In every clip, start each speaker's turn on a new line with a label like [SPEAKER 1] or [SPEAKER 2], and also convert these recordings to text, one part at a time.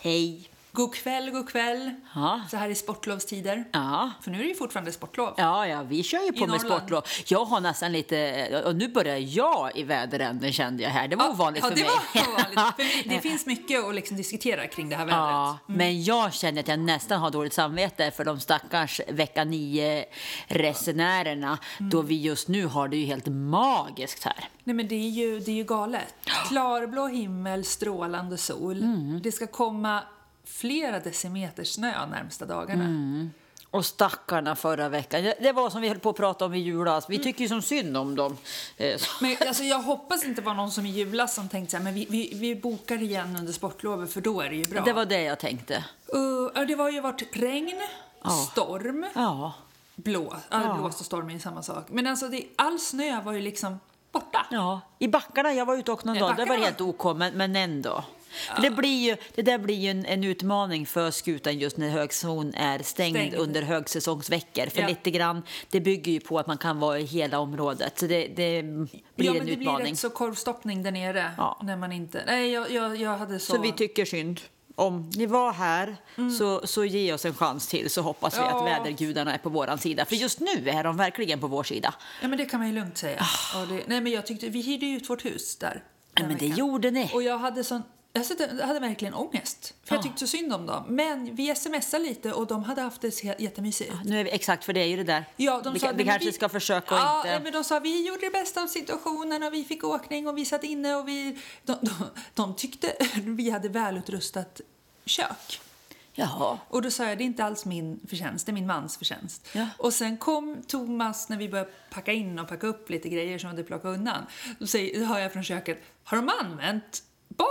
[SPEAKER 1] Hej.
[SPEAKER 2] God kväll, god kväll.
[SPEAKER 1] Ja.
[SPEAKER 2] Så här i sportlovstider.
[SPEAKER 1] Ja.
[SPEAKER 2] För nu är det ju fortfarande sportlov.
[SPEAKER 1] Ja, ja, vi kör ju på med
[SPEAKER 2] Norrland.
[SPEAKER 1] sportlov. Jag har nästan lite... eh, Och nu börjar jag i väderänden kände jag här. Det var ovanligt
[SPEAKER 2] ja,
[SPEAKER 1] för
[SPEAKER 2] det
[SPEAKER 1] mig. Mm.
[SPEAKER 2] Var ovanligt. För det finns mycket att liksom diskutera kring det här vädret.
[SPEAKER 1] Ja, men jag känner att jag nästan har dåligt samvete för de stackars vecka 9-resenärerna då vi just nu har det ju helt magiskt här.
[SPEAKER 2] Nej men det är ju, det är ju galet. Klarblå himmel, strålande sol.
[SPEAKER 1] Mm.
[SPEAKER 2] Det ska komma flera decimeter snö närmsta dagarna.
[SPEAKER 1] Mm. Och stackarna förra veckan. Det- Det var som vi höll på att prata om i julas. Vi tycker ju som synd om dem. Eh, så-
[SPEAKER 2] Men alltså, jag hoppas inte det var någon som i julas som tänkte så här, men vi, vi, vi bokar igen under sportlovet för då är det ju bra.
[SPEAKER 1] Det var det jag tänkte.
[SPEAKER 2] Uh, ja, det har ju varit regn, storm,
[SPEAKER 1] Ja.
[SPEAKER 2] blå, ja. blåst och storm är ju samma sak. Men alltså det, all snö var ju liksom borta.
[SPEAKER 1] Ja, i backarna. Jag var ute och någon
[SPEAKER 2] I
[SPEAKER 1] dag. Det var
[SPEAKER 2] backarna?
[SPEAKER 1] helt OK, men, men ändå. För Det, blir ju, det där blir ju en, en utmaning för skutan just när högzon är stängd,
[SPEAKER 2] Stängd.
[SPEAKER 1] under högsäsongsveckor. För
[SPEAKER 2] Ja.
[SPEAKER 1] lite grann, det bygger ju på att man kan vara i hela området. Så det, det blir
[SPEAKER 2] ja,
[SPEAKER 1] en
[SPEAKER 2] men det blir
[SPEAKER 1] utmaning.
[SPEAKER 2] rätt så korvstoppning där nere.
[SPEAKER 1] Ja.
[SPEAKER 2] När man inte... Nej, jag, jag, jag hade så...
[SPEAKER 1] Så vi tycker synd. Om ni var här, så, så ge oss en chans till så hoppas vi
[SPEAKER 2] Mm. Ja.
[SPEAKER 1] att vädergudarna är på vår sida. För just nu är de verkligen på vår sida.
[SPEAKER 2] ja, men det kan man ju lugnt säga. Och det... Nej, men jag tyckte... Vi hyrde ju ut vårt hus där.
[SPEAKER 1] Ja,
[SPEAKER 2] den
[SPEAKER 1] Ah. men det
[SPEAKER 2] veckan.
[SPEAKER 1] gjorde ni. Ah.
[SPEAKER 2] Och jag hade sån... Jag satt- jag hade verkligen ångest, för jag tyckte så synd om dem. Men vi smsade lite och de hade haft det så he- jättemysigt.
[SPEAKER 1] Nu är vi, exakt, för det är ju det där.
[SPEAKER 2] Ja, de
[SPEAKER 1] vi,
[SPEAKER 2] sa,
[SPEAKER 1] vi
[SPEAKER 2] men
[SPEAKER 1] kanske
[SPEAKER 2] vi-
[SPEAKER 1] ska försöka och
[SPEAKER 2] ja,
[SPEAKER 1] inte...
[SPEAKER 2] nej, men de sa vi gjorde det bästa av situationen och vi fick åkning och vi satt inne och vi... De, de, de tyckte vi hade välutrustat kök.
[SPEAKER 1] Jaha.
[SPEAKER 2] Och då sa jag det är inte alls min förtjänst, det är min mans förtjänst.
[SPEAKER 1] Ja.
[SPEAKER 2] Och sen kom Thomas när vi började packa in och packa upp lite grejer som vi hade plockat undan. Då säger, då hör jag från köket, har de använt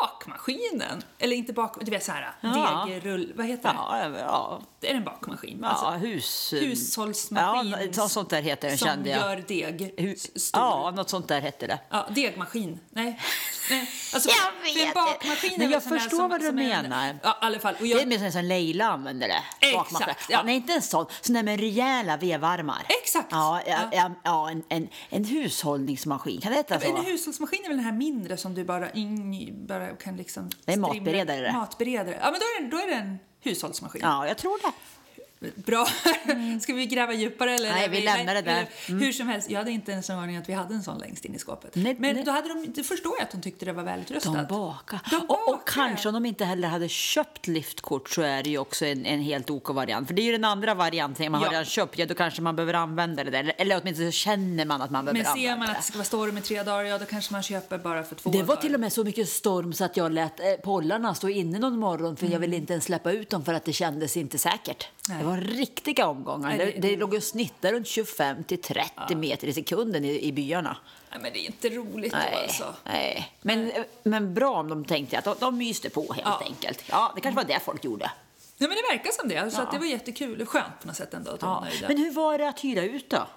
[SPEAKER 2] bakmaskinen? Eller inte bak, du vet så här,
[SPEAKER 1] Ja.
[SPEAKER 2] degerull, vad heter det?
[SPEAKER 1] Ja, ja,
[SPEAKER 2] Det är en bakmaskin.
[SPEAKER 1] ja
[SPEAKER 2] Alltså,
[SPEAKER 1] hus... Ja,
[SPEAKER 2] hushållsmaskin
[SPEAKER 1] nå- något sånt där heter den,
[SPEAKER 2] som
[SPEAKER 1] kände jag.
[SPEAKER 2] gör deg.
[SPEAKER 1] Hus-
[SPEAKER 2] stor.
[SPEAKER 1] Ja, något sånt där hette det.
[SPEAKER 2] Ja, degmaskin. Nej. Nej. Alltså,
[SPEAKER 1] Jag
[SPEAKER 2] för- för
[SPEAKER 1] vet
[SPEAKER 2] en bakmaskin
[SPEAKER 1] det.
[SPEAKER 2] är
[SPEAKER 1] Men
[SPEAKER 2] väl
[SPEAKER 1] jag
[SPEAKER 2] sån där
[SPEAKER 1] förstår
[SPEAKER 2] som-
[SPEAKER 1] vad du
[SPEAKER 2] som är en-
[SPEAKER 1] menar.
[SPEAKER 2] Ja, i alla fall. Och
[SPEAKER 1] Det är
[SPEAKER 2] jag,
[SPEAKER 1] mer som Leila använder det.
[SPEAKER 2] Exakt,
[SPEAKER 1] bakmaskin.
[SPEAKER 2] ja.
[SPEAKER 1] Nej, inte en sån. Sån där med rejäla vevarmar.
[SPEAKER 2] Exakt,
[SPEAKER 1] Ja, ja,
[SPEAKER 2] ja.
[SPEAKER 1] ja. ja en, en, en hushållningsmaskin. Kan det heta så?
[SPEAKER 2] en hushållsmaskin är väl den här mindre som du bara, in, bara kan liksom...
[SPEAKER 1] Det är
[SPEAKER 2] strimla-
[SPEAKER 1] matberedare det.
[SPEAKER 2] Matberedare. Ja, men då är det, då är det en hushållsmaskin.
[SPEAKER 1] Ja, jag tror det.
[SPEAKER 2] Bra. Ska vi gräva djupare? Eller?
[SPEAKER 1] Nej, vi lämnar det där.
[SPEAKER 2] Hur som helst, jag hade inte ens en aning att vi hade en sån längst in i skåpet.
[SPEAKER 1] Nej,
[SPEAKER 2] men
[SPEAKER 1] nej.
[SPEAKER 2] då hade de, det förstår jag att de tyckte det var
[SPEAKER 1] De
[SPEAKER 2] välutrustat.
[SPEAKER 1] bakar.
[SPEAKER 2] De
[SPEAKER 1] Och, och
[SPEAKER 2] bakar.
[SPEAKER 1] kanske om de inte heller hade köpt liftkort så är det ju också en, en helt OK-variant. För det är ju den andra varianten. Man har
[SPEAKER 2] Ja.
[SPEAKER 1] redan köpt, ja, då kanske man behöver använda det där. Eller, eller åtminstone så känner man att man behöver
[SPEAKER 2] Men ser
[SPEAKER 1] använda
[SPEAKER 2] man
[SPEAKER 1] det.
[SPEAKER 2] att det ska vara storm i tre dagar, ja då kanske man köper bara för två
[SPEAKER 1] Det var
[SPEAKER 2] dagar.
[SPEAKER 1] till och med så mycket storm så att jag lät eh, pollarna stå inne någon morgon för jag ville inte ens släppa ut dem för att det kändes inte säkert.
[SPEAKER 2] Mm. Nej.
[SPEAKER 1] Det var riktiga omgångar.
[SPEAKER 2] Nej,
[SPEAKER 1] Det,
[SPEAKER 2] det-
[SPEAKER 1] det låg och snittade runt 25 till 30 meter i sekunden i, i byarna.
[SPEAKER 2] Nej, men det är inte roligt då
[SPEAKER 1] Nej,
[SPEAKER 2] alltså.
[SPEAKER 1] nej. Men, men bra om de tänkte att de, de myste på helt
[SPEAKER 2] Ja.
[SPEAKER 1] enkelt. Ja, det kanske var det folk gjorde.
[SPEAKER 2] Nej, men det verkar som det. Så att det var jättekul och skönt på något sätt ändå att de var
[SPEAKER 1] Ja.
[SPEAKER 2] nöjda.
[SPEAKER 1] Men hur var det att hyra ut då?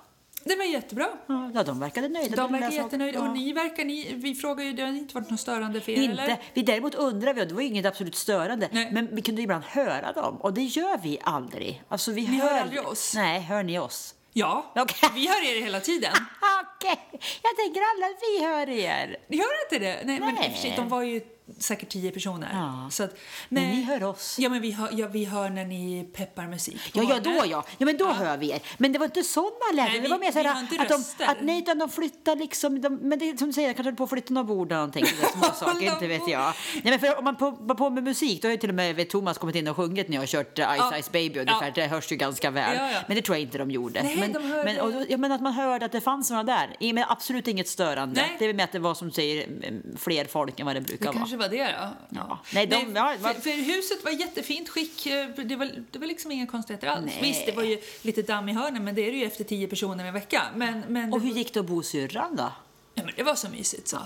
[SPEAKER 2] Det var jättebra.
[SPEAKER 1] Ja, de verkade nöjda.
[SPEAKER 2] De
[SPEAKER 1] Det
[SPEAKER 2] verkar
[SPEAKER 1] läste jag-
[SPEAKER 2] jättenöjda. Och
[SPEAKER 1] Ja.
[SPEAKER 2] ni verkar, ni, vi frågar ju, det har inte varit något störande för er
[SPEAKER 1] Inte.
[SPEAKER 2] eller?
[SPEAKER 1] Vi däremot undrar vi, och det var ju inget absolut störande,
[SPEAKER 2] Nej.
[SPEAKER 1] men vi kunde ibland höra dem och det gör vi aldrig. Alltså, vi
[SPEAKER 2] Ni hör aldrig oss?
[SPEAKER 1] Nej, hör ni oss?
[SPEAKER 2] Ja,
[SPEAKER 1] Okej.
[SPEAKER 2] vi hör er hela tiden.
[SPEAKER 1] Okej, jag tänker alla att vi hör er.
[SPEAKER 2] Ni hör inte det? Nej, men
[SPEAKER 1] Nej.
[SPEAKER 2] i och för sig, de var ju säkert tio personer.
[SPEAKER 1] Ja.
[SPEAKER 2] Så att,
[SPEAKER 1] Men
[SPEAKER 2] nej.
[SPEAKER 1] ni hör oss.
[SPEAKER 2] Ja, men vi hör, ja, vi hör när ni peppar musik. på
[SPEAKER 1] Ja, ja,
[SPEAKER 2] morgonen.
[SPEAKER 1] då ja. ja men då hör vi er. Men det var inte sådana lägen.
[SPEAKER 2] Nej,
[SPEAKER 1] det
[SPEAKER 2] vi-
[SPEAKER 1] var mer så
[SPEAKER 2] vi
[SPEAKER 1] här
[SPEAKER 2] har inte
[SPEAKER 1] att de,
[SPEAKER 2] röster.
[SPEAKER 1] att, nej, utan de flyttar liksom. De, men det är som du säger, de kanske höll på att flytta några bord eller någonting. sådär Småsaker, inte vet jag. Nej, men för om man på- var på med musik, då har ju till och med vet, Thomas kommit in och sjungit när jag har kört eh, Ice
[SPEAKER 2] Ja.
[SPEAKER 1] Ice Baby ungefär.
[SPEAKER 2] Ja.
[SPEAKER 1] Det hörs ju ganska väl.
[SPEAKER 2] Ja, ja.
[SPEAKER 1] Men det tror jag inte de gjorde.
[SPEAKER 2] Nej,
[SPEAKER 1] men,
[SPEAKER 2] de hörde-
[SPEAKER 1] men, och, då- ja, men att man hörde att det fanns några där. I- Men absolut inget störande.
[SPEAKER 2] Nej.
[SPEAKER 1] Det är väl med att det var som du säger mm, fler folk än vad det brukar
[SPEAKER 2] Det
[SPEAKER 1] vara.
[SPEAKER 2] kanske var det då.
[SPEAKER 1] Ja. Nej, de- ja, det var-
[SPEAKER 2] för, för huset var i jättefint skick. eh, Det var, det var liksom inga konstigheter alls.
[SPEAKER 1] Nej.
[SPEAKER 2] Visst, det var ju lite damm i hörnen, men det är det ju efter tio personer i en vecka. Men, men,
[SPEAKER 1] Och
[SPEAKER 2] det,
[SPEAKER 1] hur gick det att bo i syrran då?
[SPEAKER 2] ja, men det var så mysigt så.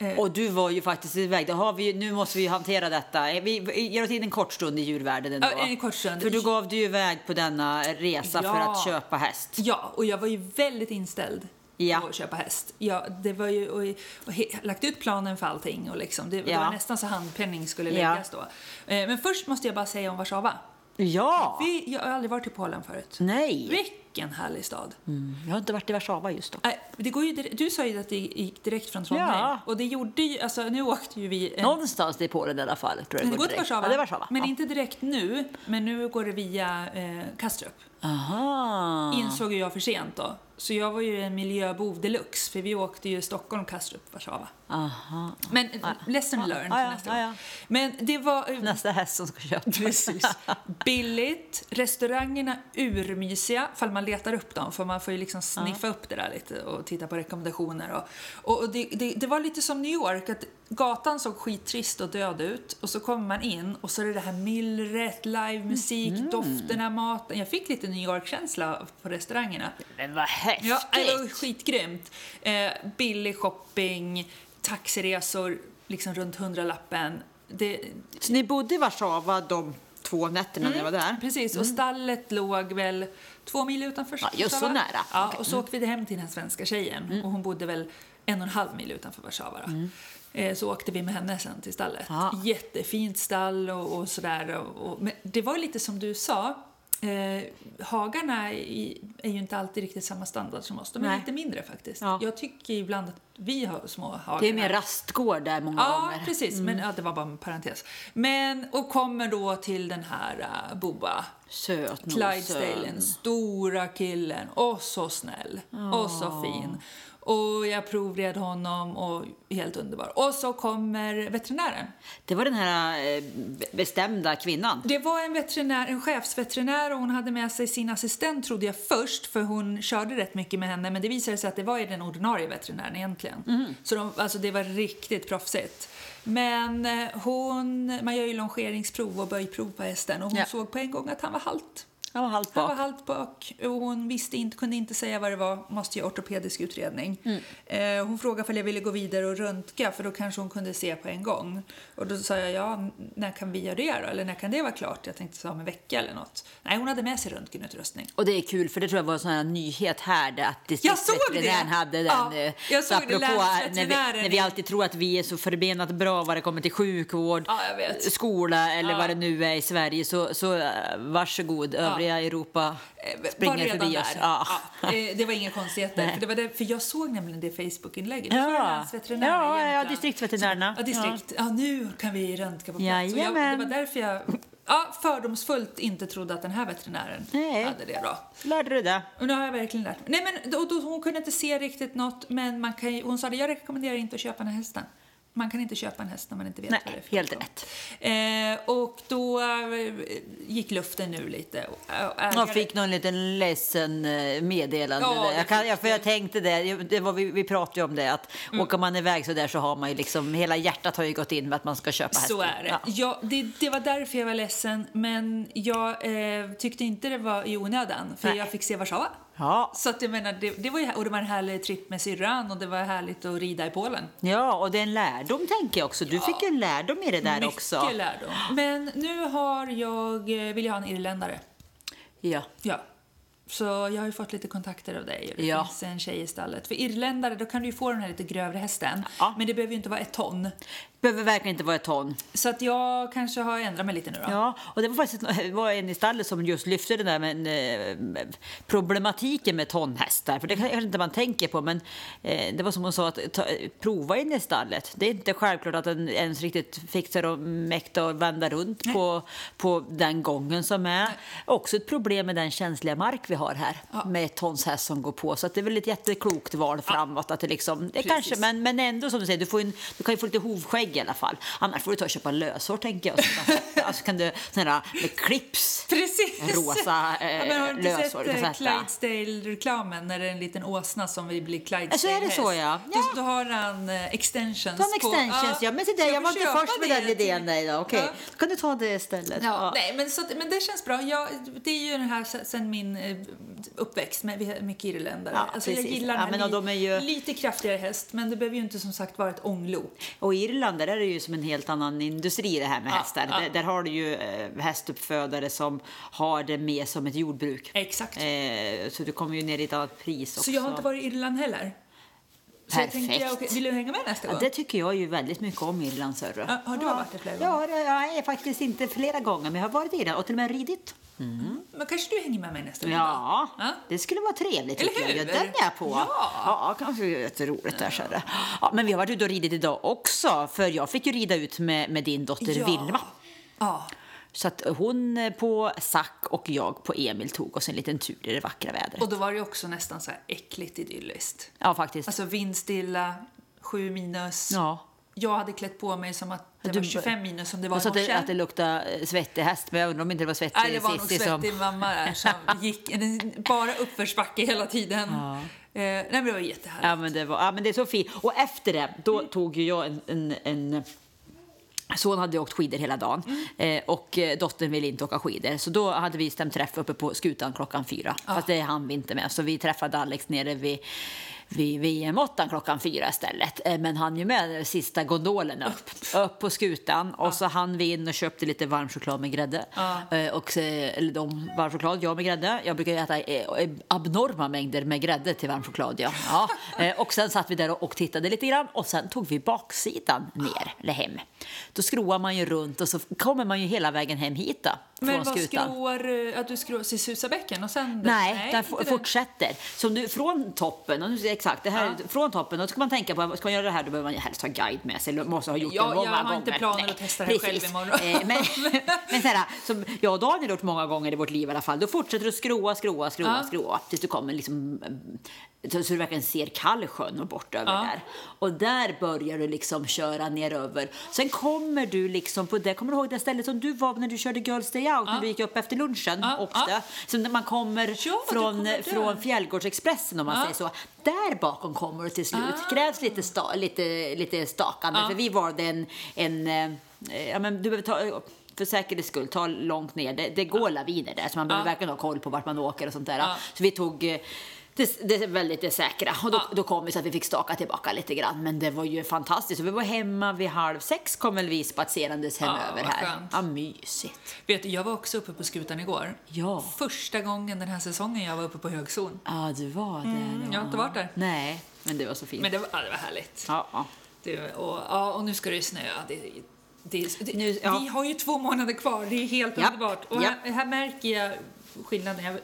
[SPEAKER 2] Eh,
[SPEAKER 1] Och du var ju faktiskt iväg. Det har vi, ju- nu måste vi ju hantera detta. Eh, Vi vi ger oss in en kort stund i djurvärlden ändå.
[SPEAKER 2] Ja, en kort stund.
[SPEAKER 1] För du gav dig ju iväg på denna resa
[SPEAKER 2] Ja.
[SPEAKER 1] för att köpa häst.
[SPEAKER 2] Ja, och jag var ju väldigt inställd
[SPEAKER 1] Ja.
[SPEAKER 2] på att köpa häst. Ja, det var ju, och, och he, lagt ut planen för allting och liksom, det, det
[SPEAKER 1] Ja.
[SPEAKER 2] var nästan så handpenning skulle
[SPEAKER 1] Ja.
[SPEAKER 2] läggas då. Eh, Men först måste jag bara säga om Warszawa.
[SPEAKER 1] Ja!
[SPEAKER 2] Vi, jag har aldrig varit i Polen förut.
[SPEAKER 1] Nej!
[SPEAKER 2] Vilket Vilken härlig stad.
[SPEAKER 1] Jag har inte varit i Warszawa just då.
[SPEAKER 2] Nej, Det går ju, dir- du sa ju att det gick direkt från Trondheim.
[SPEAKER 1] Ja.
[SPEAKER 2] Och det gjorde ju, alltså, nu åkte ju vi... En,
[SPEAKER 1] Någonstans i Polen i alla fall. Tror jag
[SPEAKER 2] men det går till
[SPEAKER 1] direkt.
[SPEAKER 2] Warszawa.
[SPEAKER 1] Ja, det är Warszawa.
[SPEAKER 2] Men
[SPEAKER 1] ja.
[SPEAKER 2] inte direkt nu, men nu går det via eh, Kastrup.
[SPEAKER 1] Aha.
[SPEAKER 2] insåg ju jag för sent då. Så jag var ju en miljöbov deluxe, för vi åkte ju Stockholm, Kastrup, Warszawa.
[SPEAKER 1] Aha.
[SPEAKER 2] Men lesson learned
[SPEAKER 1] Ah, ja,
[SPEAKER 2] nästa
[SPEAKER 1] ah,
[SPEAKER 2] gång.
[SPEAKER 1] ja.
[SPEAKER 2] Men det var...
[SPEAKER 1] Nästa häst som ska köpa.
[SPEAKER 2] Precis. Billigt, restaurangerna urmysiga, fall man letar upp dem, för man får ju liksom sniffa upp det där lite och titta på rekommendationer. Och, och, och det, det, det var lite som New York, att gatan såg skittrist och död ut och så kommer man in och så är det det här myllret, livemusik, dofterna, maten. Jag fick lite New York-känsla på restaurangerna.
[SPEAKER 1] Men vad häftigt!
[SPEAKER 2] Ja, det var skitgrymt. Eh, billig shopping, taxiresor liksom runt hundralappen. Det,
[SPEAKER 1] Så ni bodde i Warszawa de två nätterna när ni var där?
[SPEAKER 2] precis, och stallet låg väl två mil utanför
[SPEAKER 1] Mm. Ja, just så
[SPEAKER 2] Warszawa.
[SPEAKER 1] nära. Mm.
[SPEAKER 2] Ja, och så åkte vi hem till den här svenska tjejen och hon bodde väl en och en halv mil utanför Warszawa. då. Eh, Så åkte vi med henne sen till stallet.
[SPEAKER 1] Ja.
[SPEAKER 2] Jättefint stall och, och sådär. Och, och, men det var lite som du sa, eh, hagarna i, är ju inte alltid riktigt samma standard som oss. De är
[SPEAKER 1] Nej.
[SPEAKER 2] lite mindre faktiskt.
[SPEAKER 1] Ja.
[SPEAKER 2] Jag tycker ibland att vi har små hagar.
[SPEAKER 1] Det är mer Mm. rastgård där många
[SPEAKER 2] Ja,
[SPEAKER 1] gånger.
[SPEAKER 2] precis. Men ja, det var bara en parentes. Men, och kommer då till den här uh, Boba.
[SPEAKER 1] Sötnosen.
[SPEAKER 2] Clydesdalen, stora killen. Och så snäll. Och så fin. Och jag provred honom och helt underbar. Och så kommer veterinären.
[SPEAKER 1] Det var den här eh, bestämda kvinnan.
[SPEAKER 2] Det var en veterinär, en chefsveterinär och hon hade med sig sin assistent trodde jag först för hon körde rätt mycket med henne men det visade sig att det var ju den ordinarie veterinären egentligen. Så de, alltså det var riktigt proffsigt. Men eh, hon, man gör ju longeringsprov och böjprov på hästen och hon
[SPEAKER 1] Ja.
[SPEAKER 2] såg på en gång att han var halt.
[SPEAKER 1] Han var halvt
[SPEAKER 2] Han var
[SPEAKER 1] bak.
[SPEAKER 2] halt bak och hon visste inte, kunde inte säga vad det var. Måste göra ortopedisk utredning.
[SPEAKER 1] Mm.
[SPEAKER 2] Eh, hon frågade om jag ville gå vidare och röntga för då kanske hon kunde se på en gång. Och då sa jag, ja, n- när kan vi göra det då? Eller när kan det vara klart? Jag tänkte så om en vecka eller något. Nej, hon hade med sig röntgenutrustning.
[SPEAKER 1] Och det är kul för det tror jag var en sån här nyhet här där att distriktsveterinären
[SPEAKER 2] såg det!
[SPEAKER 1] hade den.
[SPEAKER 2] Ja,
[SPEAKER 1] eh,
[SPEAKER 2] jag
[SPEAKER 1] så
[SPEAKER 2] såg det,
[SPEAKER 1] apropå när vi,
[SPEAKER 2] länsveterinären
[SPEAKER 1] när vi
[SPEAKER 2] i-
[SPEAKER 1] alltid tror att vi är så förbenat bra vad det kommer till sjukvård,
[SPEAKER 2] Ja, jag vet.
[SPEAKER 1] skola eller
[SPEAKER 2] Ja.
[SPEAKER 1] vad det nu är i Sverige så, så eh, varsågod övriga Europa
[SPEAKER 2] Eh, var
[SPEAKER 1] springer
[SPEAKER 2] redan
[SPEAKER 1] förbi
[SPEAKER 2] där.
[SPEAKER 1] oss. Ja.
[SPEAKER 2] Ja, eh, det var inga konstigheter. För, det var det, för jag såg nämligen det Facebookinlägget.
[SPEAKER 1] Ja.
[SPEAKER 2] för länsveterinären i
[SPEAKER 1] Ja, ja,
[SPEAKER 2] Jämtland.
[SPEAKER 1] distriktsveterinärerna.
[SPEAKER 2] Ja, distrikt. Ja. nu kan vi röntga på plats. Och jag, det
[SPEAKER 1] Jajamän.
[SPEAKER 2] var därför jag ja, fördomsfullt inte trodde att den här veterinären
[SPEAKER 1] Nej.
[SPEAKER 2] hade det. Då.
[SPEAKER 1] Lärde du det?
[SPEAKER 2] Och nu har jag verkligen lärt mig. Nej, men, då, då, hon kunde inte se riktigt något, men man kan, ju- hon sa det, jag rekommenderar inte att köpa den här hästen. Man kan inte köpa en häst när man inte vet
[SPEAKER 1] Nej,
[SPEAKER 2] vad det är för
[SPEAKER 1] helt
[SPEAKER 2] sjukdom. Eh, och då eh, gick luften nu lite. Och, eh, ägaren-
[SPEAKER 1] Jag fick någon liten ledsen eh, meddelande.
[SPEAKER 2] Ja,
[SPEAKER 1] där.
[SPEAKER 2] det
[SPEAKER 1] jag, kan,
[SPEAKER 2] fick Mm.
[SPEAKER 1] jag, för jag tänkte det, ju- det var, vi, vi pratade ju om det, att åker man iväg så där så har man ju liksom, hela hjärtat har ju gått in med att man ska köpa hästen.
[SPEAKER 2] Så är det.
[SPEAKER 1] Ja.
[SPEAKER 2] Ja, det. Det var därför jag var ledsen, men jag eh, tyckte inte det var i onödan, för
[SPEAKER 1] Nej.
[SPEAKER 2] jag fick se Warszawa.
[SPEAKER 1] Ja.
[SPEAKER 2] Så att jag menar, det, det var ju, och det var en härlig tripp med syrran och det var härligt att rida i Polen.
[SPEAKER 1] Ja, och det är en lärdom tänker jag också. Du fick ju en lärdom i det där
[SPEAKER 2] Mycket
[SPEAKER 1] också.
[SPEAKER 2] lärdom. Men nu har jag, eh, vill jag ha en irländare.
[SPEAKER 1] Ja.
[SPEAKER 2] Ja. Så jag har ju fått lite kontakter av dig och det
[SPEAKER 1] Ja.
[SPEAKER 2] finns en tjej i stallet. För irländare, då kan du ju få den här lite grövre hästen.
[SPEAKER 1] Ja.
[SPEAKER 2] Men det behöver ju inte vara ett ton.
[SPEAKER 1] Behöver verkligen inte vara ett ton.
[SPEAKER 2] Så att jag kanske har ändrat mig lite nu då.
[SPEAKER 1] Ja, och det var faktiskt det var en i stallet som just lyfte den där men, eh, problematiken med tonhästar. För det kanske inte man tänker på, men eh, det var som hon sa att ta, prova in i stallet. Det är inte självklart att den ens riktigt fixar och mäktar att vända runt på, på den gången som är. Också ett problem med den känsliga mark vi har här med tonshäst som går på. Så att det är väl ett jätteklokt val framåt. Att det liksom, det kanske, men, men ändå som du säger, du, får en, du kan ju få lite hovskägg i alla fall. Annars får du ta och köpa löshår tänker jag. Så kan- alltså kan du sådana där med clips.
[SPEAKER 2] Precis!
[SPEAKER 1] Rosa, eh,
[SPEAKER 2] ja, men har du inte
[SPEAKER 1] löshår, du
[SPEAKER 2] sett
[SPEAKER 1] kan
[SPEAKER 2] eh,
[SPEAKER 1] sätta.
[SPEAKER 2] Clydesdale-reklamen när det är en liten åsna som vill bli Clydesdale-häst?
[SPEAKER 1] Ja, så är det så, ja.
[SPEAKER 2] Då,
[SPEAKER 1] Ja.
[SPEAKER 2] då har han eh, extensions.
[SPEAKER 1] Ta en extensions,
[SPEAKER 2] på-
[SPEAKER 1] ja. Men se där,
[SPEAKER 2] Ska
[SPEAKER 1] jag var inte
[SPEAKER 2] köpa
[SPEAKER 1] först med
[SPEAKER 2] det
[SPEAKER 1] den
[SPEAKER 2] till-
[SPEAKER 1] idén. Nej, då. Okej,
[SPEAKER 2] Ja.
[SPEAKER 1] då kan du ta det istället.
[SPEAKER 2] Ja,
[SPEAKER 1] Ja.
[SPEAKER 2] Nej, men, så att, men det känns bra. Jag, det är ju den här se- sen min eh, uppväxt med vi har mycket irländare.
[SPEAKER 1] Ja,
[SPEAKER 2] alltså, jag
[SPEAKER 1] precis.
[SPEAKER 2] gillar
[SPEAKER 1] Ja,
[SPEAKER 2] den här
[SPEAKER 1] men och de är ju-
[SPEAKER 2] lite kraftigare häst, men det behöver ju inte som sagt vara ett ånglok.
[SPEAKER 1] Och i Irland där är det ju som en helt annan industri det här med
[SPEAKER 2] Ja,
[SPEAKER 1] hästar.
[SPEAKER 2] ja.
[SPEAKER 1] Där, där har du ju eh, hästuppfödare som har det mer som ett jordbruk.
[SPEAKER 2] Exakt.
[SPEAKER 1] Eh, så du kommer ju ner i ett annat pris också.
[SPEAKER 2] så jag har inte varit i Irland heller. Så Jag tänkte,
[SPEAKER 1] Perfekt.
[SPEAKER 2] ja, okej, vill du hänga med nästa
[SPEAKER 1] Ja,
[SPEAKER 2] gång?
[SPEAKER 1] det tycker jag ju väldigt mycket om Irland, Sörre.
[SPEAKER 2] Ja, har du varit där flera
[SPEAKER 1] Ja, det- jag är faktiskt inte flera gånger, men jag har varit i Irland och till och med ridit.
[SPEAKER 2] men kanske du hänger med mig nästa vecka?
[SPEAKER 1] Ja,
[SPEAKER 2] Ja.
[SPEAKER 1] det skulle vara trevligt.
[SPEAKER 2] Eller
[SPEAKER 1] tycker jag. Ja,
[SPEAKER 2] hur?
[SPEAKER 1] Den är jag på.
[SPEAKER 2] Ja.
[SPEAKER 1] ja kanske är jätteroligt där. Så är det. Ja, men vi har varit ute och ridit idag också, för jag fick ju rida ut med, med din dotter Vilma.
[SPEAKER 2] Ja.
[SPEAKER 1] Så att hon eh, på Sack och jag på Emil tog oss en liten tur i det vackra vädret.
[SPEAKER 2] Och då var det ju också nästan så här äckligt idylliskt.
[SPEAKER 1] Ja, faktiskt.
[SPEAKER 2] Alltså vindstilla, sju minus.
[SPEAKER 1] Ja.
[SPEAKER 2] Jag hade klätt på mig som att det
[SPEAKER 1] Du-
[SPEAKER 2] var 25 minus som det var
[SPEAKER 1] Och
[SPEAKER 2] i
[SPEAKER 1] så att det, att det
[SPEAKER 2] morse.
[SPEAKER 1] luktade eh, svettig häst, men jag undrar om inte det var svettig
[SPEAKER 2] Nej, det var nog
[SPEAKER 1] Cissi som...
[SPEAKER 2] svettig mamma där som gick en- bara uppförsbacke hela tiden. Eh, nej, men det var jättehärligt.
[SPEAKER 1] Ja, men det, var, ja, men det är så fint. Och efter det, då tog ju jag en... en, en Son hade ju åkt skidor hela dagen eh, och eh, dottern ville inte åka skidor. Så då hade vi stämt träff uppe på skutan klockan fyra. Fast det hann vi inte med. Så vi träffade Alex nere vid, vid VM-åttan klockan fyra istället. Eh, men han ju med sista gondolen upp, upp på skutan. Och så hann vi in och köpte lite varm choklad med grädde. Eh, och, eh, eller de, varm choklad, jag med grädde. Jag brukar ju äta eh, abnorma mängder med grädde till varm choklad. Ja. Ja. Eh, och sen satt vi där och, och tittade lite grann och sen tog vi baksidan ner, eller hem. Då skroar man ju runt och så kommer man ju hela vägen hem hit då, från
[SPEAKER 2] Men vad
[SPEAKER 1] skutan.
[SPEAKER 2] skroar du? Att du skroar till Susabäcken och sen?
[SPEAKER 1] Nej, den
[SPEAKER 2] inte
[SPEAKER 1] f- fortsätter. Så nu, från toppen, och nu, ser jag exakt, det här, är- från toppen, då ska man tänka på, ska man göra det här då behöver man ju helst ha guide med sig, eller måste ha gjort
[SPEAKER 2] Ja,
[SPEAKER 1] det
[SPEAKER 2] jag
[SPEAKER 1] många
[SPEAKER 2] har
[SPEAKER 1] gånger.
[SPEAKER 2] inte planer
[SPEAKER 1] Nej,
[SPEAKER 2] att testa det här själv
[SPEAKER 1] precis.
[SPEAKER 2] imorgon.
[SPEAKER 1] Eh, men men så här, som jag och Daniel har gjort många gånger i vårt liv i alla fall, då fortsätter du skroa, skroa, skroa,
[SPEAKER 2] Ja.
[SPEAKER 1] skroa, tills du kommer liksom, eh, så så du verkligen ser Kallsjön och bort över där. Och där börjar du liksom köra neröver. Sen kommer du liksom på det, kommer du ihåg det stället som du var när du körde Girls Day Out, när du gick upp efter lunchen
[SPEAKER 2] Ja,
[SPEAKER 1] och
[SPEAKER 2] ja.
[SPEAKER 1] det. Så när man kommer
[SPEAKER 2] Ja, du
[SPEAKER 1] från,
[SPEAKER 2] kommer där.
[SPEAKER 1] från Fjällgårdsexpressen om man säger så. Där bakom kommer det till slut.
[SPEAKER 2] Ah.
[SPEAKER 1] krävs lite, sta, lite, lite stakande för vi valde en, en eh, ja, men du behöver ta för säkerhets skull, ta långt ner. Det, det går laviner där, så man behöver verkligen ha koll på vart man åker och sånt där. Så vi tog eh, det, det är väldigt det säkra. Och då, då kom vi så att vi fick staka tillbaka lite grann. Men det var ju fantastiskt. Och vi var hemma vid halv sex, kom väl vi spatserandes hemöver
[SPEAKER 2] vad
[SPEAKER 1] här.
[SPEAKER 2] skönt.
[SPEAKER 1] Ja, mysigt.
[SPEAKER 2] Vet du, jag var också uppe på skutan igår.
[SPEAKER 1] Ja.
[SPEAKER 2] Första gången den här säsongen jag var uppe på högzon.
[SPEAKER 1] Ja, du var där. ja.
[SPEAKER 2] Mm, jag har inte varit där.
[SPEAKER 1] Nej, men det var så fint.
[SPEAKER 2] Men det var, ja, det var härligt.
[SPEAKER 1] Ja, ja.
[SPEAKER 2] Det, och, ja, och nu ska det ju snöa. Det, det, det,
[SPEAKER 1] Nu- ja.
[SPEAKER 2] Vi har ju två månader kvar, det är helt
[SPEAKER 1] Japp,
[SPEAKER 2] underbart. Och
[SPEAKER 1] japp.
[SPEAKER 2] här, här märker jag skillnaden, jag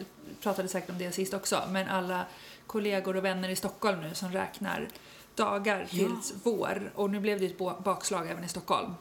[SPEAKER 2] pratade säkert om det sist också, men alla kollegor och vänner i Stockholm nu som räknar dagar tills vår. Och nu blev det ju ett bo- bakslag även i Stockholm.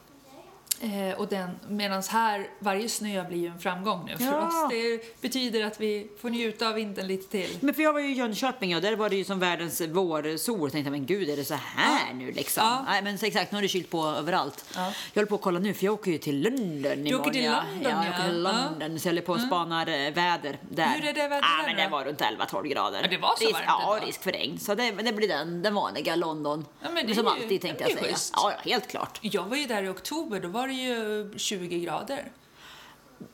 [SPEAKER 2] Eh, och den, medans här, varje snö blir ju en framgång nu för
[SPEAKER 1] Ja.
[SPEAKER 2] oss. Det betyder att vi får njuta av vintern lite till.
[SPEAKER 1] Men för jag var ju i Jönköping och där var det ju som världens vårsol. Jag tänkte men gud är det så här nu liksom?
[SPEAKER 2] Ja.
[SPEAKER 1] Nej men så exakt, nu har det kylt på överallt. Jag håller på att kolla nu för jag åker ju till London
[SPEAKER 2] Du åker till
[SPEAKER 1] ja.
[SPEAKER 2] London,
[SPEAKER 1] ja. jag åker till
[SPEAKER 2] ja. Mm.
[SPEAKER 1] London. Så jag håller på och spanar eh, väder där.
[SPEAKER 2] Hur är det vädret
[SPEAKER 1] ah,
[SPEAKER 2] där
[SPEAKER 1] men
[SPEAKER 2] då?
[SPEAKER 1] det var runt 11-12 grader.
[SPEAKER 2] Ja, det var så
[SPEAKER 1] risk,
[SPEAKER 2] varmt
[SPEAKER 1] Ja,
[SPEAKER 2] ändå.
[SPEAKER 1] risk för regn. Så det, men det blir den, den vanliga London.
[SPEAKER 2] Ja, men det
[SPEAKER 1] som
[SPEAKER 2] är ju-
[SPEAKER 1] alltid
[SPEAKER 2] ja,
[SPEAKER 1] tänkte
[SPEAKER 2] men
[SPEAKER 1] jag
[SPEAKER 2] det är
[SPEAKER 1] säga.
[SPEAKER 2] schysst.
[SPEAKER 1] Ja, ja, helt klart.
[SPEAKER 2] Jag var ju där i oktober, då var det ju 20 grader.